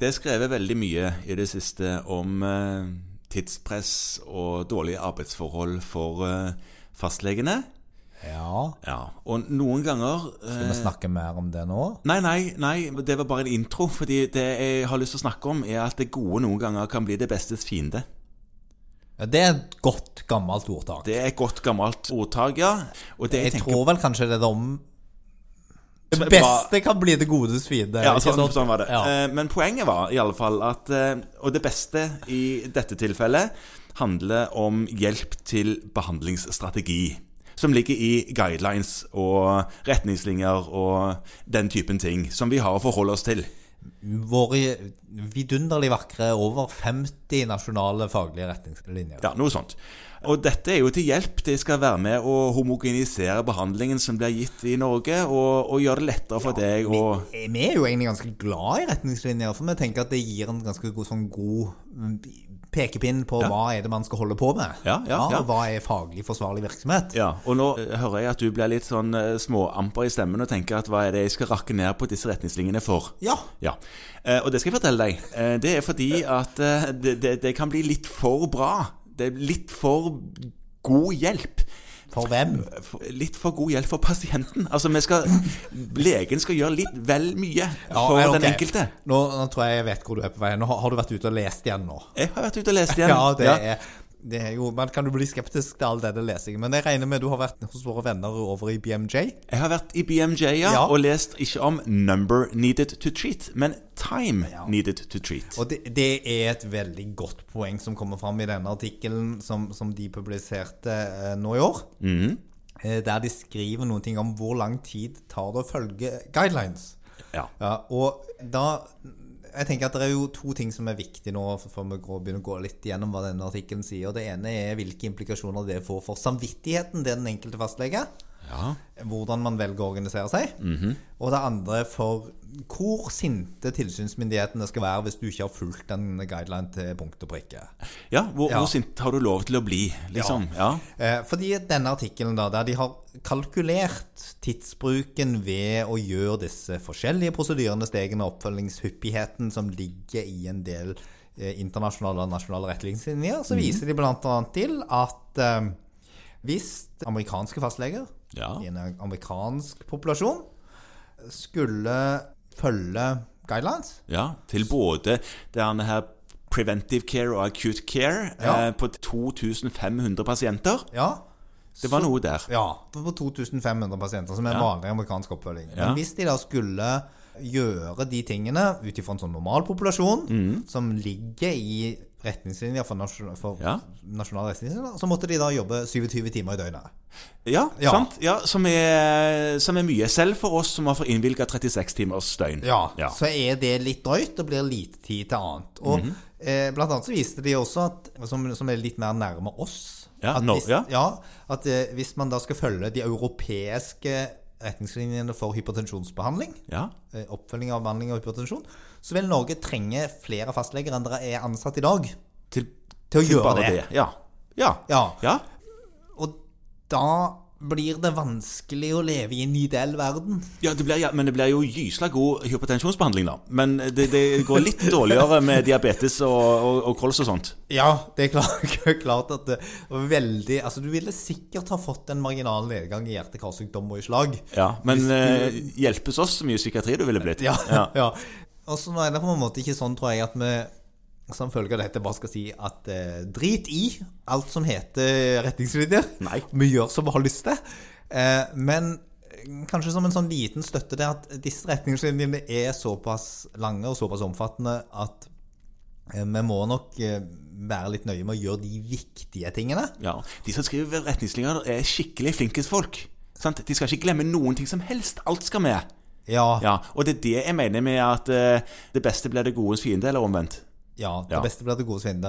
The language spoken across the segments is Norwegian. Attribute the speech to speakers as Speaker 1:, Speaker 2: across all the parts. Speaker 1: Det er skrevet veldig mye i det siste om eh, tidspress og dårlige arbeidsforhold for eh, fastlegene.
Speaker 2: Ja.
Speaker 1: Ja, og noen ganger eh,
Speaker 2: Skal vi snakke mer om det nå?
Speaker 1: Nei, nei, nei, det var bare en intro. Fordi det jeg har lyst til å snakke om, er at det gode noen ganger kan bli det bestes fiende.
Speaker 2: Ja, det er et godt, gammelt ordtak.
Speaker 1: Det er et godt gammelt ordtak, ja. Og det jeg,
Speaker 2: jeg
Speaker 1: tenker
Speaker 2: tror vel kanskje det er det om
Speaker 1: Det
Speaker 2: Det
Speaker 1: er bra.
Speaker 2: beste kan bli det godes fiende.
Speaker 1: Ja,
Speaker 2: ikke
Speaker 1: sånn,
Speaker 2: sant?
Speaker 1: sånn var det.
Speaker 2: Ja.
Speaker 1: Eh, Men poenget var i alle fall at eh, Og det beste i dette tilfellet handler om hjelp til behandlingsstrategi. Som ligger i guidelines og retningslinjer og den typen ting som vi har å forholde oss til.
Speaker 2: Våre vidunderlig vakre over 50 nasjonale faglige retningslinjer.
Speaker 1: Ja, noe sånt. Og dette er jo til hjelp. Det skal være med å homogenisere behandlingen som blir gitt i Norge, og, og gjøre det lettere for deg å
Speaker 2: Eh, Vi er jo egentlig ganske glad i retningslinjer, for vi tenker at det gir en ganske god, sånn god mm, pekepinn på hva er det man skal holde på med.
Speaker 1: Ja, ja, ja.
Speaker 2: og Hva er faglig forsvarlig virksomhet?
Speaker 1: Ja, og nå eh, hører jeg at du blir litt sånn eh, småamper i stemmen og tenker at hva er det jeg skal rakke ned på disse retningslinjene for?
Speaker 2: Ja.
Speaker 1: Ja, Eh, og det skal jeg fortelle deg. Eh, Det er fordi at eh, det, det, det kan bli litt for bra. Det er litt for god hjelp.
Speaker 2: For hvem?
Speaker 1: For- Litt for god hjelp for pasienten. Altså, vi skal, legen skal gjøre litt vel mye for
Speaker 2: Ja, ok.
Speaker 1: den enkelte.
Speaker 2: Nå, nå tror jeg jeg vet hvor du er på vei. Nå har, har du vært ute og lest igjen nå.
Speaker 1: Jeg har vært ute og lest igjen.
Speaker 2: Ja, det er det er jo, Man kan jo bli skeptisk til all denne lesingen, men jeg regner med du har vært hos våre venner over i BMJ?
Speaker 1: Jeg har vært i BMJ ja,
Speaker 2: Ja.
Speaker 1: og lest ikke om number needed to treat, men time needed to treat.
Speaker 2: Og det, det er et veldig godt poeng som kommer fram i denne artikkelen som, som de publiserte eh, nå i år. Eh, der de skriver noen ting om hvor lang tid tar det å følge guidelines.
Speaker 1: Ja.
Speaker 2: Ja, og da Jeg tenker at det er jo to ting som er viktig nå, før vi går- begynner å gå litt gjennom hva denne artikkelen sier. og Det ene er hvilke implikasjoner det får for samvittigheten til den enkelte fastlege.
Speaker 1: Ja.
Speaker 2: Hvordan man velger å organisere seg. Og det andre er for hvor sinte tilsynsmyndighetene skal være hvis du ikke har fulgt en guideline til punkt og prikke.
Speaker 1: Ja, hvor,
Speaker 2: Ja.
Speaker 1: hvor sint har du lov til å bli, liksom? Ja.
Speaker 2: Eh, Fordi denne artikkelen da, der de har kalkulert tidsbruken ved å gjøre disse forskjellige prosedyrene, stegene og oppfølgingshyppigheten som ligger i en del eh, internasjonale og nasjonale retningslinjer, så viser de bl.a. til at eh, hvis amerikanske fastleger
Speaker 1: Ja.
Speaker 2: i en amerikansk populasjon skulle følge guidelines,
Speaker 1: ja. Til både denne her preventive care og acute care
Speaker 2: Ja.
Speaker 1: eh, på 2500 pasienter.
Speaker 2: ja,
Speaker 1: Det var noe der.
Speaker 2: Ja, på 2500 pasienter, som er en vanlig amerikansk oppfølging.
Speaker 1: Ja.
Speaker 2: Men hvis de da skulle gjøre de tingene ut ifra en sånn normal populasjon,
Speaker 1: Mm.
Speaker 2: som ligger i retningslinjer for, nasjon for
Speaker 1: Ja.
Speaker 2: nasjonale retningslinjer, så måtte de da jobbe 27 timer i døgnet.
Speaker 1: Ja,
Speaker 2: Ja.
Speaker 1: sant? Ja, som, er, som er mye. Selv for oss som har fått innvilga 36 timers døgn.
Speaker 2: Ja,
Speaker 1: Ja.
Speaker 2: så er det litt drøyt. Det blir lite tid til annet. Og
Speaker 1: Mhm.
Speaker 2: eh, Blant annet så viste de også, at, som, som er litt mer nærme oss
Speaker 1: Ja,
Speaker 2: at
Speaker 1: nå-
Speaker 2: hvis,
Speaker 1: ja.
Speaker 2: at eh, hvis man da skal følge de europeiske retningslinjene for hypertensjonsbehandling,
Speaker 1: Ja.
Speaker 2: eh, oppfølging av behandling av hypertensjon, så vil Norge trenge flere fastleger enn det er ansatt i dag.
Speaker 1: Til,
Speaker 2: Til å gjøre
Speaker 1: bare
Speaker 2: det.
Speaker 1: Ja. Ja.
Speaker 2: Ja,
Speaker 1: ja.
Speaker 2: Og da blir det vanskelig å leve i en ideell verden.
Speaker 1: Ja, det blir, ja, men det blir jo gysla god hypertensjonsbehandling, da. Men det, det går litt dårligere med diabetes og, og, og kols og sånt.
Speaker 2: Ja, det er klart, klart at det var veldig Altså, du ville sikkert ha fått en marginal nedgang i hjerte-karsykdom og i slag.
Speaker 1: Ja, Men eh, hjelpes oss så mye psykiatri du ville blitt.
Speaker 2: Ja, ja. Og så nå er det på en måte ikke sånn, tror jeg, at vi som følge av dette bare skal si at eh, drit i alt som heter retningslinjer.
Speaker 1: Nei.
Speaker 2: Vi gjør som vi har lyst til. Eh, men kanskje som en sånn liten støtte til at disse retningslinjene er såpass lange og såpass omfattende at eh, vi må nok eh, være litt nøye med å gjøre de viktige tingene.
Speaker 1: Ja, De som skriver retningslinjer, er skikkelig flinkest folk. Sant? De skal ikke glemme noen ting som helst. Alt skal med.
Speaker 2: Ja, ja.
Speaker 1: Ja, Og det er det jeg mener med at eh, det beste blir det godes fiende, eller omvendt.
Speaker 2: det
Speaker 1: Ja.
Speaker 2: beste blir det gode fiende.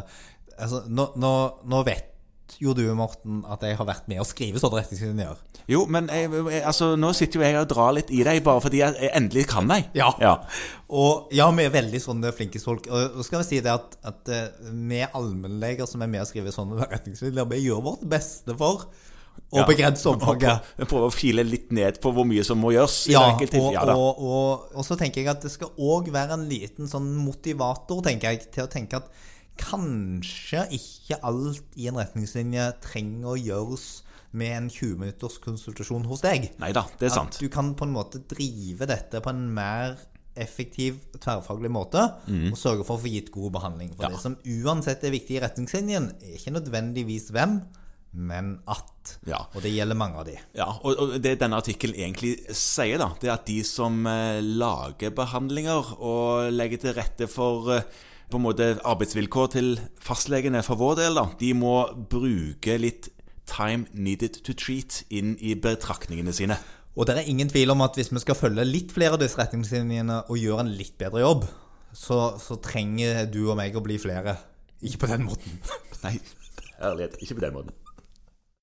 Speaker 2: Altså, nå, nå, nå vet jo du, Morten, at jeg har vært med å skrive sånne retningslinjer.
Speaker 1: Jo, men jeg, jeg, altså, nå sitter jo jeg og drar litt i deg, bare fordi jeg, jeg endelig kan deg.
Speaker 2: Ja.
Speaker 1: ja.
Speaker 2: Og ja, vi er veldig sånne flinkest folk. Og og skal vi si det at, at eh, vi allmennleger som er med og skriver sånne retningslinjer, vi gjør vårt beste for og begrense omfanget.
Speaker 1: Prøve å file litt ned på hvor mye som må gjøres. i
Speaker 2: Ja,
Speaker 1: det
Speaker 2: og,
Speaker 1: enkelte tilfellet. da.
Speaker 2: og, og, og så tenker jeg at det skal òg være en liten sånn motivator tenker jeg, til å tenke at kanskje ikke alt i en retningslinje trenger å gjøres med en 20 minutters konsultasjon hos deg.
Speaker 1: Nei da, det er sant.
Speaker 2: At du kan på en måte drive dette på en mer effektiv, tverrfaglig måte, og sørge for å få gitt god behandling. For
Speaker 1: Mhm. Ja.
Speaker 2: det som uansett er viktig i retningslinjen, er ikke nødvendigvis hvem, men at.
Speaker 1: Ja.
Speaker 2: Og det gjelder mange av de.
Speaker 1: Ja, og, og det denne artikkelen egentlig sier, da, det er at de som eh, lager behandlinger og legger til rette for eh, på en måte arbeidsvilkår til fastlegene for vår del, da, de må bruke litt time needed to treat inn i betraktningene sine.
Speaker 2: Og det er ingen tvil om at hvis vi skal følge litt flere av disse retningslinjene og gjøre en litt bedre jobb, så, så trenger du og meg å bli flere. Ikke på den måten.
Speaker 1: Nei, ærlighet, ikke på den måten.